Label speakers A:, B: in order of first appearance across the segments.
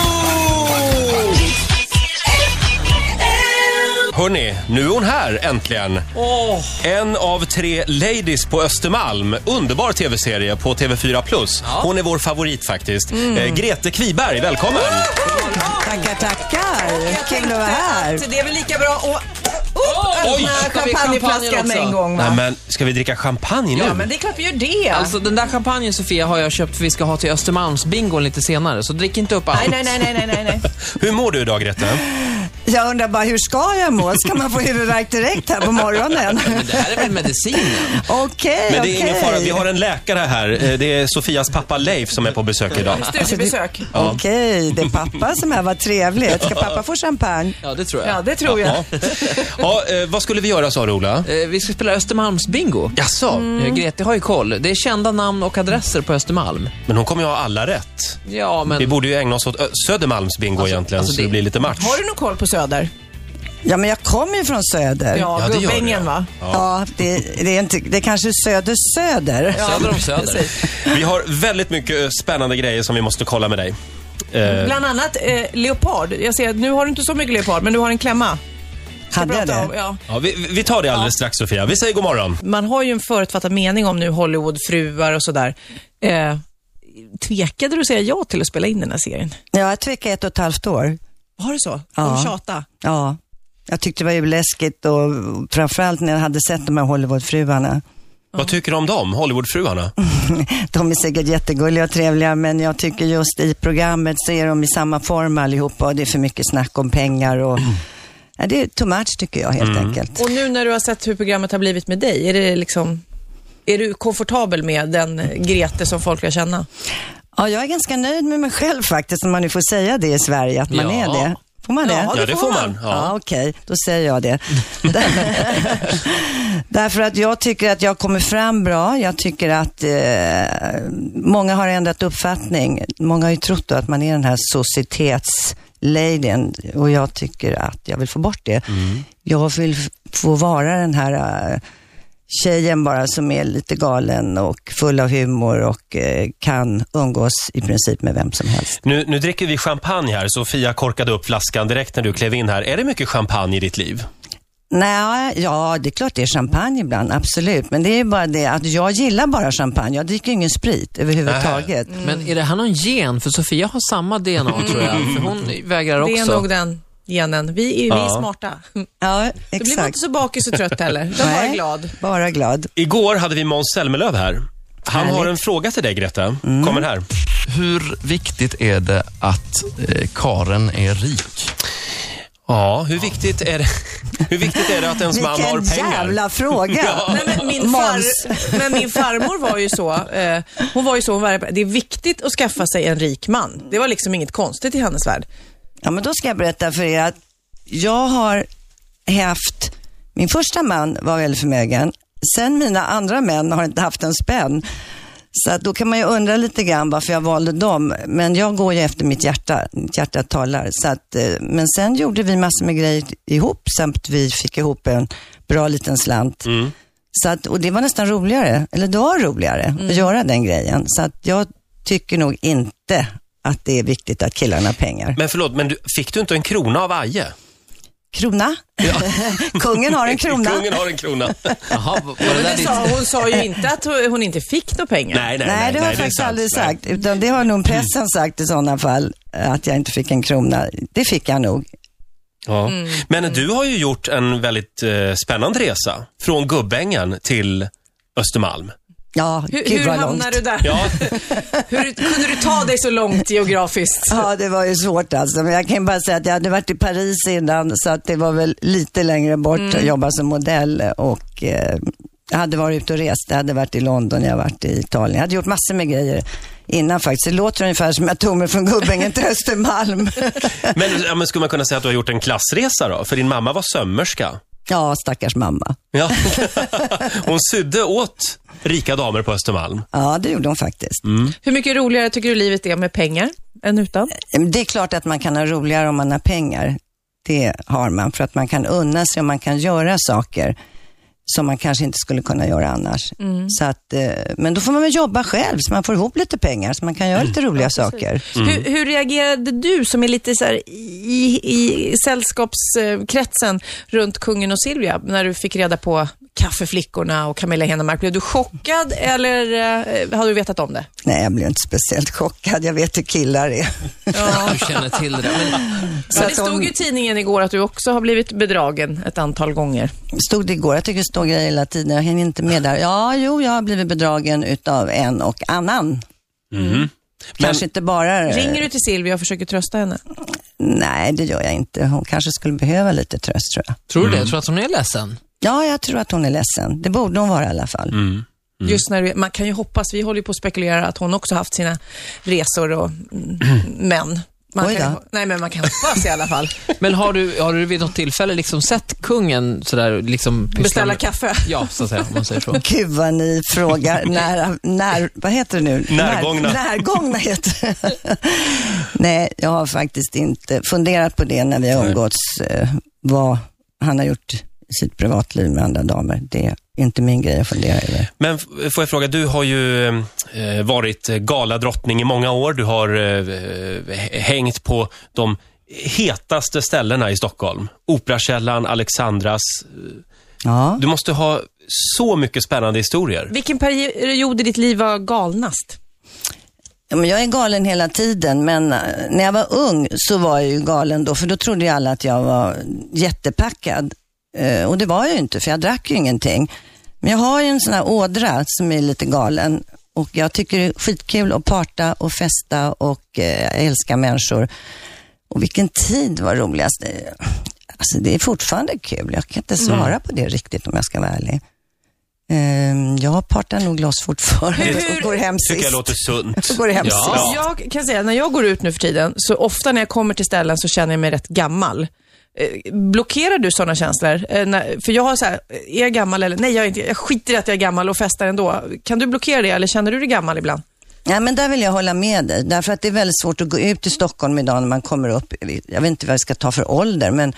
A: Riksmorgonzoo! Hörni, nu är hon här äntligen.
B: Åh,
A: En av tre ladies på Östermalm. Underbar tv-serie på TV4+. Plus. Hon är vår favorit faktiskt.
B: Mm.
A: Eh, Grete Kviberg, välkommen!
C: Tackar, tackar.
B: jag
C: Kul att
B: tänkte
C: vara här.
B: att det är väl lika bra att
C: Oh,
A: Oj!
C: öppna
B: Ska vi champagne
C: champagneflaskan med
B: också?
C: en gång.
A: Nej,
C: Va?
A: men ska vi dricka champagne nu?
C: Ja, men det är klart vi gör det.
B: Alltså den där champagnen Sofia har jag köpt för vi ska ha till Östermalmsbingon lite senare, så drick inte upp allt.
C: Nej, nej, nej, nej, nej, nej, nej.
A: Hur mår du idag Grete?
C: Jag undrar bara, hur ska jag må? Ska man få huvudvärk direkt här på morgonen?
B: Men det här är väl medicinen?
C: Okej,
A: Men det är ingen fara, vi
C: okej.
A: har en läkare här. Eh, Det är Sofias pappa Leif som är på besök idag.
C: Alltså,
B: Studiebesök.
C: Okej, det är pappa som är, vad trevligt. Ska pappa få champagne?
B: Ja, det tror jag.
C: det tror
A: Ja. Ja, eh, vad skulle vi göra sa du Ola?
B: Eh, Vi ska spela Östermalmsbingo.
A: Jaså?
B: Mm. Grete har ju koll. Det är kända namn och adresser på Östermalm.
A: Men hon kommer ju ha alla rätt.
B: Ja, men...
A: Vi borde ju ägna oss åt Ö- Södermalms bingo egentligen,
B: alltså
A: så det
B: det-
A: blir lite match.
D: Har du nog koll på Söder?
C: Ja, men jag kommer ju från söder. Ja,
A: Ja,
D: Ja,
A: det gör
D: gubbängen
A: du,
D: va?
C: det, det, är inte, det är kanske söder söder.
B: Söder om Söder.
A: Vi har väldigt mycket eh, spännande grejer som vi måste kolla med dig.
C: Mm.
A: Eh,
D: Bland annat eh, leopard. Jag ser att nu har du inte så mycket leopard, men du har en klämma. Ska
C: Hade jag
D: prata
C: det?
D: om- ja.
A: ja, vi, vi tar det alldeles strax Sofia. Vi säger god morgon.
D: Man har ju en förutfattad mening om nu Hollywoodfruar och sådär. Eh, tvekade du att säga ja till att spela in den här serien?
C: Ja, jag tvekade ett och ett halvt år.
D: Var det så?
C: Ja.
D: De tjata.
C: Ja, jag tyckte det var ju läskigt och framförallt när jag hade sett de här Hollywoodfruarna.
A: Vad tycker du om dem, Hollywoodfruarna?
C: De är säkert jättegulliga och trevliga, men jag tycker just i programmet så är de i samma form allihopa och det är för mycket snack om pengar och ja, det är too much tycker jag helt enkelt.
D: Och nu när du har sett hur programmet har blivit med dig, är det liksom... Är du komfortabel med den Grete som folk lär känna?
C: Ja, jag är ganska nöjd med mig själv faktiskt, om man nu får säga det i Sverige, att man
B: Ja.
C: är det. Får man det?
A: Ja, det får man.
C: Ja,
A: Ja.
C: okej. Då säger jag det. Därför att jag tycker att jag kommer fram bra. Jag tycker att eh, många har ändrat uppfattning. Många har ju trott då att man är den här societetsladyn och jag tycker att jag vill få bort det.
A: Mm.
C: Jag vill f- få vara den här eh, tjejen bara som är lite galen och full av humor och eh, kan umgås i princip med vem som helst.
A: Nu, nu dricker vi champagne här. Sofia korkade upp flaskan direkt när du klev in här. Är det mycket champagne i ditt liv?
C: Nej, ja, det är klart det är champagne ibland, absolut. Men det är ju bara det att jag gillar bara champagne. Jag dricker ingen sprit överhuvudtaget.
D: Mm.
B: Men är det här någon gen? För Sofia har samma DNA tror jag. För hon vägrar också.
D: Det är nog den genen. Vi är, vi
A: Ja.
D: är smarta.
A: Mm.
C: Ja,
D: Då blir man
C: exakt.
D: inte så bakis och trött heller. Då var jag
C: Nej,
D: glad.
C: Bara glad.
A: Igår hade vi Måns Zelmerlöw här. Han har
C: Härligt. Mm.
A: en fråga till dig Greta. Kommer här.
E: Hur viktigt är det att eh, karen är rik?
A: Ja, hur viktigt är det, hur viktigt är det att ens man har
C: Vilken
A: pengar?
C: jävla fråga.
D: Nej, men, min far,
C: Måns.
D: men min farmor var ju så. Eh, hon var ju så, hon var, det är viktigt att skaffa sig en rik man. Det var liksom inget konstigt i hennes värld.
C: Ja, men då ska jag berätta för er att jag har haft, min första man var väldigt förmögen. Sen mina andra män har inte haft en spänn. Så att då kan man ju undra lite grann varför jag valde dem. Men jag går ju efter mitt hjärta, mitt hjärta talar. Så att, eh, men sen gjorde vi massor med grejer ihop, samt vi fick ihop en bra liten slant. Så att, och det var nästan roligare, eller det var roligare att göra den grejen. Så att jag tycker nog inte att det är viktigt att killarna har pengar.
A: Men förlåt, men du, fick du inte en krona av Aje?
C: Krona. Kungen har en krona.
A: Kungen har en krona.
B: Jaha, var det
D: Men
B: där
D: det
B: ditt...
D: sa, hon sa ju inte att hon hon inte fick några pengar.
A: Nej, nej, nej.
C: Nej, det har jag
A: är
C: faktiskt
A: sant.
C: aldrig
A: Nej.
C: sagt. Utan det har nog pressen sagt i sådana fall, eh, att jag inte fick en krona. Det fick jag nog.
A: Ja. Men du har ju gjort en väldigt eh, spännande resa. Från Gubbängen till Östermalm.
C: Ja,
D: Hur,
C: gud
D: hur
C: vad långt.
D: hamnade du där?
A: Ja,
D: Hur kunde du ta dig så långt geografiskt?
C: Ja, det var ju svårt alltså. Men jag kan ju bara säga att jag hade varit i Paris innan, så att det var väl lite längre bort
D: Mm.
C: att jobba som modell. Och, eh, jag hade varit ute och rest. Jag hade varit i London, jag hade varit i Italien. Jag hade gjort massor med grejer innan faktiskt. Det låter ungefär som jag tog mig från Gubbängen till Östermalm.
A: men, ja, men skulle man kunna säga att du har gjort en klassresa då? För din mamma var sömmerska.
C: ja, stackars mamma.
A: Ja. Hon sydde åt rika damer på Östermalm.
C: Ja, det gjorde hon faktiskt.
D: Hur mycket roligare tycker du livet är med pengar än utan?
C: Ehm, Det är klart att man kan ha roligare om man har pengar. Det har man, för att man kan unna sig och man kan göra saker som man kanske inte skulle kunna göra annars. Så att, eh, men då får man väl jobba själv så man får ihop lite pengar så man kan göra lite roliga saker.
D: Hur, hur reagerade du som är lite så här i, i sällskapskretsen runt kungen och Silvia när du fick reda på kaffeflickorna och Camilla Henemark? Blev du chockad eller eh, hade du vetat om det?
C: Nej, jag blev inte speciellt chockad. Jag vet hur killar är.
D: Ja.
B: Du känner till det. där.
E: Mm.
B: Men
D: Så det
C: att hon-
D: stod ju i tidningen igår att du också har blivit bedragen ett antal gånger.
C: Stod det igår, jag tycker det står grejer hela tiden, jag hänger inte med där. Ja, jo, jag har blivit bedragen utav en och annan.
A: Mm.
C: Kanske inte bara... eh,
D: Ringer du till Silvia och försöker trösta henne?
C: Nej, det gör jag inte. Hon kanske skulle behöva lite tröst tror jag.
B: tror du det? Tror du att hon är ledsen?
C: Ja, jag tror att hon är ledsen. Det borde hon vara i alla fall. Mm.
D: Just när du, man kan ju hoppas, vi håller ju på att spekulera att hon också haft sina resor och mm, män. Man
C: Oj
D: kan, ju-
C: då.
D: nej, men man kan hoppas i alla fall.
B: Men har du, har du vid något tillfälle liksom sett kungen sådär, liksom pyssla
D: Beställa
B: med-
D: kaffe.
B: Ja, så att säga, om man säger så.
C: Gud vad ni frågar när, när, vad heter det nu?
A: Närgångna.
C: När, närgångna heter det. Nej, jag har faktiskt inte funderat på det när vi har umgåtts, eh, vad han har gjort i sitt privatliv med andra damer. Det är inte min grej att fundera över.
A: Men f- får jag fråga, du har ju eh, varit galadrottning i många år. Du har eh, h- hängt på de hetaste ställena i Stockholm. Operakällaren, Alexandras.
C: Ja.
A: Du måste ha så mycket spännande historier.
D: Vilken period i ditt liv var galnast?
C: Ja, Men jag är galen hela tiden, men eh, när jag var ung så var jag ju galen då, för då trodde ju alla att jag var jättepackad. Eh, Och det var jag ju inte, för jag drack ju ingenting. Men jag har ju en sån här ådra som är lite galen. Och jag tycker det är skitkul att parta och festa och eh, jag älskar människor. Och vilken tid var roligast? Eh, Alltså det är fortfarande kul. Jag kan inte svara
A: Mm.
C: på det riktigt om jag ska vara ärlig. Eh, Jag partar nog loss fortfarande och går hem
A: tycker
C: sist.
A: jag låter sunt.
C: Och går hem
A: Ja.
C: sist.
D: Jag kan säga, när jag går ut nu för tiden, så ofta när jag kommer till ställen så känner jag mig rätt gammal. Eh, blockerar du sådana känslor? Eh, när, för jag har så här, eh, är jag gammal eller nej, jag, är inte, jag skiter i att jag är gammal och festar ändå. Kan du blockera det eller känner du dig gammal ibland?
C: Ja, men där vill jag hålla med dig. Därför att det är väldigt svårt att gå ut i Stockholm idag när man kommer upp. Jag vet inte vad jag ska ta för ålder, men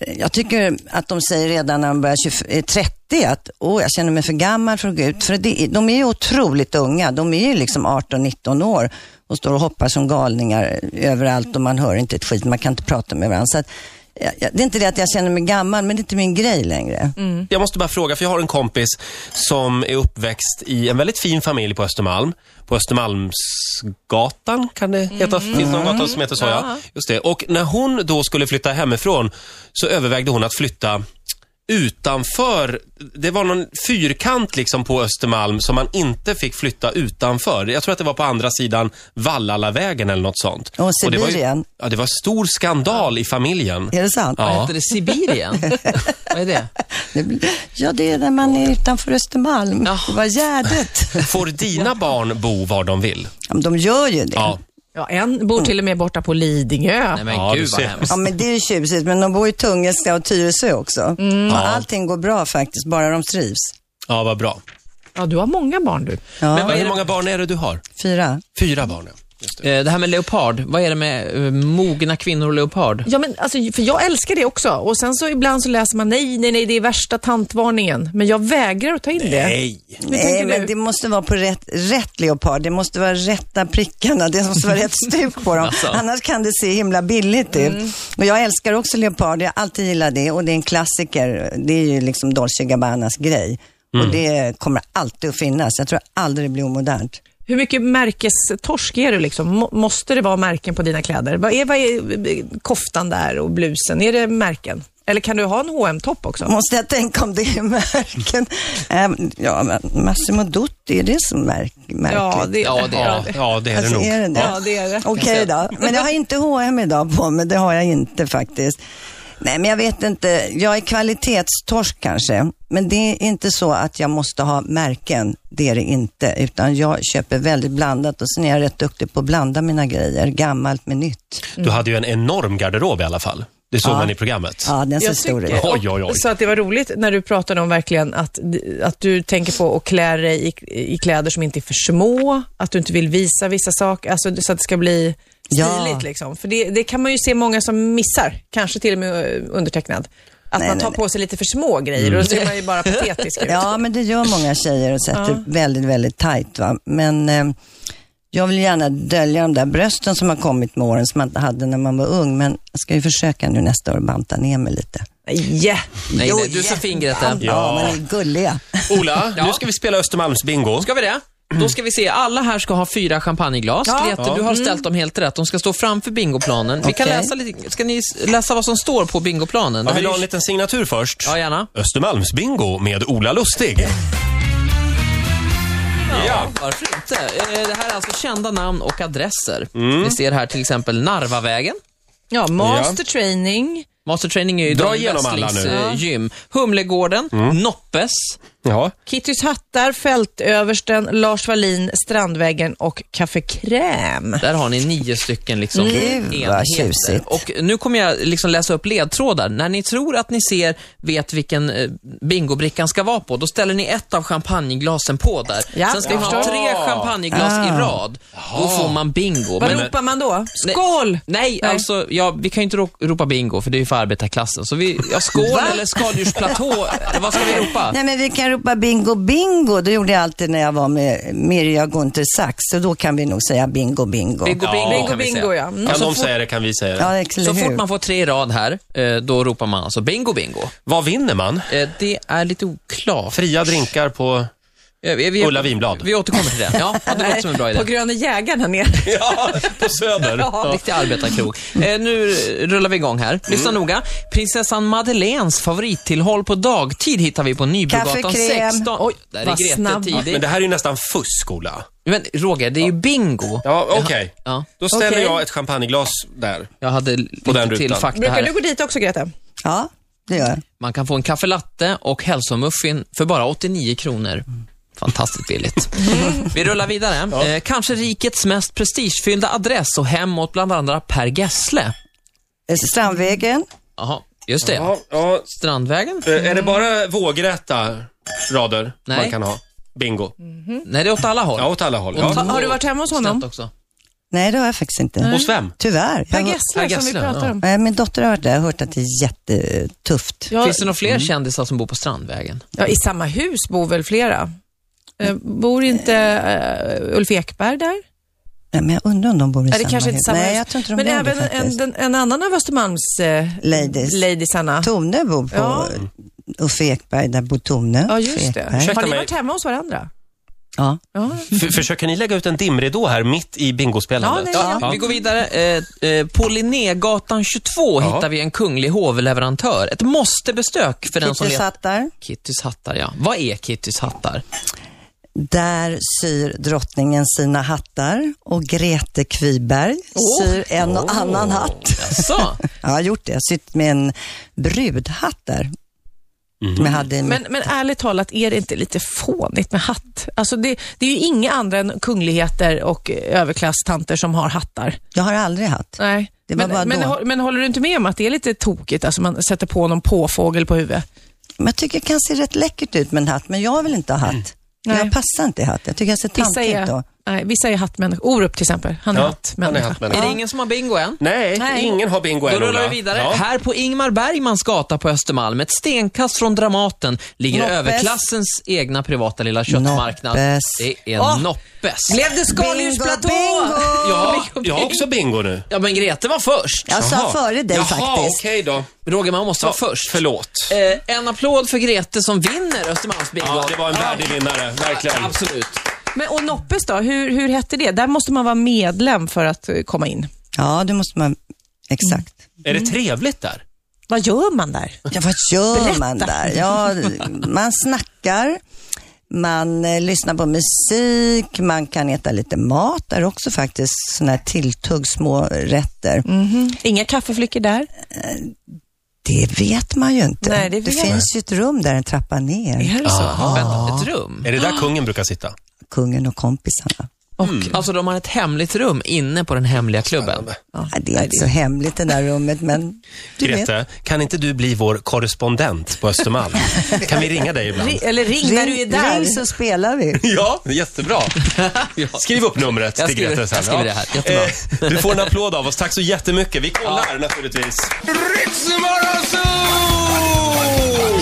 C: eh, jag tycker att de säger redan när man börjar 20 eh, 30 att åh, jag känner mig för gammal för att gå ut. För det, är- de är ju otroligt unga. De är ju liksom 18-19 år och står och hoppar som galningar eh, överallt och man hör inte ett skit. Man kan inte prata med varandra. Så att, ja, ja, det är inte det att jag känner mig gammal, men det är inte min grej längre.
A: Jag måste bara fråga, för jag har en kompis som är uppväxt i en väldigt fin familj på Östermalm. På Östermalmsgatan kan det heta. Finns det någon gata som heter så? Ja. Just det. Och när hon då skulle flytta hemifrån så övervägde hon att flytta utanför. Det var någon fyrkant liksom på Östermalm som man inte fick flytta utanför. Jag tror att det var på andra sidan Vallalavägen eller något sånt.
C: Åh,
A: det var ju,
C: Sibirien.
A: ja, det var stor skandal i familjen.
C: Är det sant?
A: Ja.
B: Vad heter det? Sibirien? Vad är det?
C: Det blir- Ja, det är när man är utanför Östermalm. Det var Gärdet.
A: Får dina barn bo var de vill?
C: Ja, men de gör ju det. Ja.
A: Ja.
D: Ja, en bor till och med borta på Lidingö.
B: Nej men
A: Ja, du
B: gud vad
A: ser.
B: hemskt.
C: men det är ju tjusigt, men de bor i Tungelska och Tyresö också. Och allting går bra faktiskt, bara de trivs.
A: Ja, vad bra.
D: Ja, du har många barn du.
C: Ja,
A: Men vad, hur många barn är det du har?
C: fyra.
A: Fyra barn, ja. Just det.
B: Eh, Det här med leopard, vad är det med eh, mogna kvinnor och leopard?
D: Ja, men alltså, för jag älskar det också. Och sen så ibland så läser man nej, nej, nej, det är värsta tantvarningen. Men jag vägrar att ta in det.
A: Nej.
C: Nej,
D: tänker
C: men
D: du?
C: det måste vara på rätt, rätt leopard. Det måste vara rätta prickarna, det måste vara rätt stuk på dem. Annars kan det se himla billigt ut. Och jag älskar också leopard, jag har alltid gillat det och det är en klassiker. Det är ju liksom Dolce Gabbanas grej. Och det kommer alltid att finnas. Jag tror aldrig det blir omodernt.
D: Hur mycket märkestorsk är du? Liksom? Må- Måste det vara märken på dina kläder? Vad är, vad är eh, koftan där och blusen? Är det märken? Eller kan du ha en hm topp också?
C: Måste jag tänka om det är märken? Ehm, ja, men Massimo Dutti, är det så märk märkligt?
D: det,
B: Ja, det
A: Ja, ja, det är
C: Alltså,
A: det nog.
C: är det det?
D: Ja, det är det.
C: Okej då. Men jag har inte H&M idag på mig, det har jag inte faktiskt. Nej, men jag vet inte. Jag är kvalitetstorsk kanske. Men det är inte så att jag måste ha märken. Det är det inte. Utan jag köper väldigt blandat och sen är jag rätt duktig på att blanda mina grejer. Gammalt med nytt.
A: Du hade ju en enorm garderob i alla fall. Det såg
C: Ja.
A: man i programmet.
C: Ja, den ser
D: Jag
C: stor ut.
D: tycker-
A: Oj, oj, oj.
D: Så att det var roligt när du pratade om verkligen att, att du tänker på att klä dig i, i kläder som inte är för små, att du inte vill visa vissa saker, alltså, så att det ska bli
C: Ja.
D: stiligt. Liksom. För det, det kan man ju se många som missar, kanske till och med eh, undertecknad. Att
C: Nej,
D: man
C: nej,
D: tar
C: nej.
D: på sig lite för små grejer
A: Mm.
D: och då ser man ju bara patetisk ut.
C: Ja, men det gör många tjejer och sätter väldigt, väldigt tajt. Va? Men eh, jag vill gärna dölja de där brösten som har kommit med åren, som man inte hade när man var ung. Men jag ska ju försöka nu nästa år banta ner mig lite.
D: Yeah.
B: Nej,
C: Jo,
B: nej, du är så fin Greta.
C: Ja, man är gulliga.
A: Ola,
B: Ja.
A: nu ska vi spela Östermalmsbingo.
B: Ska vi det? Då ska vi se, alla här ska ha fyra champagneglas.
D: Ja.
B: Grete, du har ställt dem helt rätt. De ska stå framför bingoplanen. Vi kan
C: Mm. Okej.
B: läsa lite, ska ni s- läsa vad som står på bingoplanen? Det
A: Jag
B: här
A: vill
B: är ju-
A: ha en liten signatur först.
B: Ja, gärna.
A: Östermalmsbingo med Ola Lustig.
B: Ja, varför inte? Eh, Det här är alltså kända namn och adresser.
A: Mm.
B: Vi ser här till exempel Narvavägen.
D: Ja, master training.
B: Master Training är ju
A: Dra
B: Daniel
A: igenom alla
B: Wesslings,
A: nu. Mm.
B: eh, gym. Humlegården, Noppes,
A: Ja.
D: Kittys hattar, Fältöversten, Lars Wallin, Strandvägen och Café Crème.
B: där har ni nio stycken liksom
C: Gud, vad tjusigt.
B: Och nu kommer jag liksom läsa upp ledtrådar. När ni tror att ni ser, vet vilken eh, bingobrickan ska vara på, då ställer ni ett av champagneglasen på där.
D: Ja,
B: Sen ska
D: jag
B: ni ha
D: förstår.
B: tre champagneglas i rad. Då får man bingo.
D: Vad
B: Men-
D: ropar man då?
B: Nej.
D: Skål!
B: Nej,
D: Nej.
B: alltså, ja, vi kan ju inte ro- ropa bingo, för det är ju för arbetarklassen. Så vi, ja, skål eller skaldjursplatå, vad ska vi ropa?
C: Nej, men vi kan ropa bingo, bingo. Det gjorde jag alltid när jag var med Mirja Gunther Sachs. Så då kan vi nog säga bingo,
B: Bingo,
C: bingo.
B: bingo,
A: Bingo,
B: kan vi
D: bingo,
B: säga.
D: ja. Mm.
A: Kan
B: så
A: de
B: fort-
A: säga det kan vi säga det.
C: Ja, eller
B: Så
C: hur?
B: fort man får tre i rad här, eh, då ropar man alltså bingo, bingo.
A: Vad vinner man?
B: Eh, Det är lite oklart.
A: Fria drinkar på...
B: Eh, vi- vi-
A: Ulla Vinblad.
B: Vi återkommer till det. Ja, ja, det låter som en bra idé.
D: På Gröna Jägaren här nere.
A: Ja, på Söder.
B: Ja. Riktig arbetarkrog. Eh, nu rullar vi igång
A: Mm.
B: här. Lyssna noga. Prinsessan Madeleines favorittillhåll på dagtid hittar vi på Nybrogatan
C: Kaffe, crème.
B: 16. Oj, där är
D: Vad
B: Grete
D: snabb.
A: Men
B: tidig.
A: det här är ju nästan fusk, Ola.
B: Men Roger, det är ju bingo.
A: Ja, okej.
B: Ja.
A: Då ställer
D: Okej.
A: jag ett champagneglas där.
B: Jag hade
A: den
B: lite till
A: rutan.
B: fakta
D: Brukar
B: här.
D: du gå dit också, Greta?
C: Ja, det gör jag.
B: Man kan få en kaffelatte och hälsomuffin för bara 89 kronor. Fantastiskt billigt.
D: Mm.
B: Vi rullar vidare. Eh, kanske rikets mest prestigefyllda adress och hem åt bland andra Per Gessle.
C: Eh, Strandvägen.
B: Jaha, just det.
A: Ja, ja.
B: Strandvägen?
A: Eh, Är det bara vågräta rader
B: Nej.
A: man kan ha? Bingo.
B: Nej, det är åt alla håll.
A: Ja, åt alla håll.
B: Och
A: Ja.
D: Ta- Har du varit hemma hos
B: Snett
D: honom?
B: också.
C: Nej, det har jag faktiskt inte.
A: Hos vem?
C: Tyvärr. Jag
D: Per
C: har-
B: Mm. Per
D: Gessle som vi
B: Gessle,
D: pratar
B: ja.
D: om.
C: Eh, Min dotter har hört det. Jag har hört att det är jättetufft.
D: Ja,
B: Finns det några fler
A: Mm.
B: kändisar som bor på Strandvägen?
D: ja, I samma hus bor väl flera? Eh, Bor inte eh, Ulf Ekberg där?
C: Nej, men jag undrar om de bor i
D: Ja, det
C: samma
D: kanske inte
C: hus.
D: samma
C: Nej,
D: hus.
C: jag tror inte de
D: Men
C: gör
D: även
C: det
D: en,
C: faktiskt.
D: den, en annan av Östermalms eh,
C: Ladies.
D: ladiesarna.
C: Tone bor på
D: Ja.
C: Uffe Ekberg, där bor Tone.
D: Ja, just det.
C: Ekberg.
A: Ursäkta
D: Har ni
A: mig.
D: varit hemma hos varandå?
C: Ja.
D: Ja.
A: F- Försöker ni lägga ut en dimridå här mitt i bingospelandet?
D: Ja, nej,
B: Vi går vidare. Eh, eh, På Linnégatan 22
A: Ja.
B: hittar vi en kunglig hovleverantör. Ett måstebestök för den som
C: Kitty
B: letar.
C: satt där.
B: Kittys hattar, ja. Vad är Kittys hattar?
C: Där syr drottningen sina hattar och Grete Kviberg
B: Åh.
C: syr en och annan hatt.
B: Jaså?
C: Ja, jag har gjort det. Jag har sytt med en brudhatt där.
B: Mhm.
C: Som jag hade i mitt-
D: Men, men ärligt talat, är det inte lite fånigt med hatt? Alltså det, det är ju inga andra än kungligheter och eh, överklasstanter som har hattar.
C: Jag har aldrig hatt.
D: Nej.
C: Det var
D: Men,
C: bara
D: men,
C: då.
D: hå- men håller du inte med om att det är lite tokigt? Alltså man sätter på någon påfågel på huvudet.
C: Men jag tycker det kan se rätt läckert ut med en hatt, men jag vill inte ha hatt.
D: Nej.
C: Jag passar inte i hatt. Jag tycker jag ser
D: Vissa
C: tantig ut då.
D: är, nej, vissa är hattmänniskor. Orup till exempel, han är
A: Ja, han är
D: hattmänniska.
B: Är
A: hattmänniska.
B: det ingen som har bingo än?
A: Nej,
D: Nej.
A: ingen har bingo än,
B: Då rullar
A: Ola.
B: vi vidare.
A: Ja.
B: Här på Ingmar Bergmans gata på Östermalm, ett stenkast från Dramaten, ligger
C: Noppes.
B: överklassens egna privata lilla köttmarknad.
C: Noppes.
B: Det är
D: Åh!
B: Noppes.
D: Blev det
C: Bingo, bingo!
B: Ja,
A: Jag har också bingo nu.
B: ja, men Grete var först.
C: Jag sa
A: Jaha.
C: före dig
A: Jaha,
C: faktiskt.
A: okej då.
B: Roger, man måste vara först.
A: Förlåt.
B: Eh, en applåd för Grete som vinner Östermalmsbingo.
A: Ja, det var en värdig vinnare, verkligen.
B: Absolut.
D: Men, och Noppes då, hur, hur hette det? Där måste man vara medlem för att eh, komma in.
C: Ja, det måste man... Exakt.
D: Mm.
A: Är det trevligt där?
D: Vad gör man där?
C: Ja, vad gör man där? Ja, man snackar, man eh, lyssnar på musik, man kan äta lite mat där också faktiskt. Sådana här tilltugg, små rätter.
D: Mm. Inga kaffeflickor där?
C: Det vet man ju inte.
D: Nej, det
C: det
D: vet-
C: finns ju ett rum där, en trappa ner.
D: Är det så?
B: Vänta, ett rum?
A: Är det där kungen brukar sitta?
C: Kungen och kompisarna.
D: Och,
B: Alltså de har ett hemligt rum inne på den hemliga klubben.
A: Spännande.
C: Nej, det är inte så hemligt det där rummet, men du vet.
A: Grete, kan inte du bli vår korrespondent på Östermalm? kan vi ringa dig ibland?
D: ri- eller ring, när du är där.
C: ring så spelar vi.
A: Ja, jättebra. Skriv upp numret
B: Jag
A: till
B: skriver-
A: Grete sen.
B: jag skriver
A: ja.
B: det här. Jättebra.
A: Eh, Du får en applåd av oss. Tack så jättemycket. Vi kollar naturligtvis. Ritzmorgonzoo!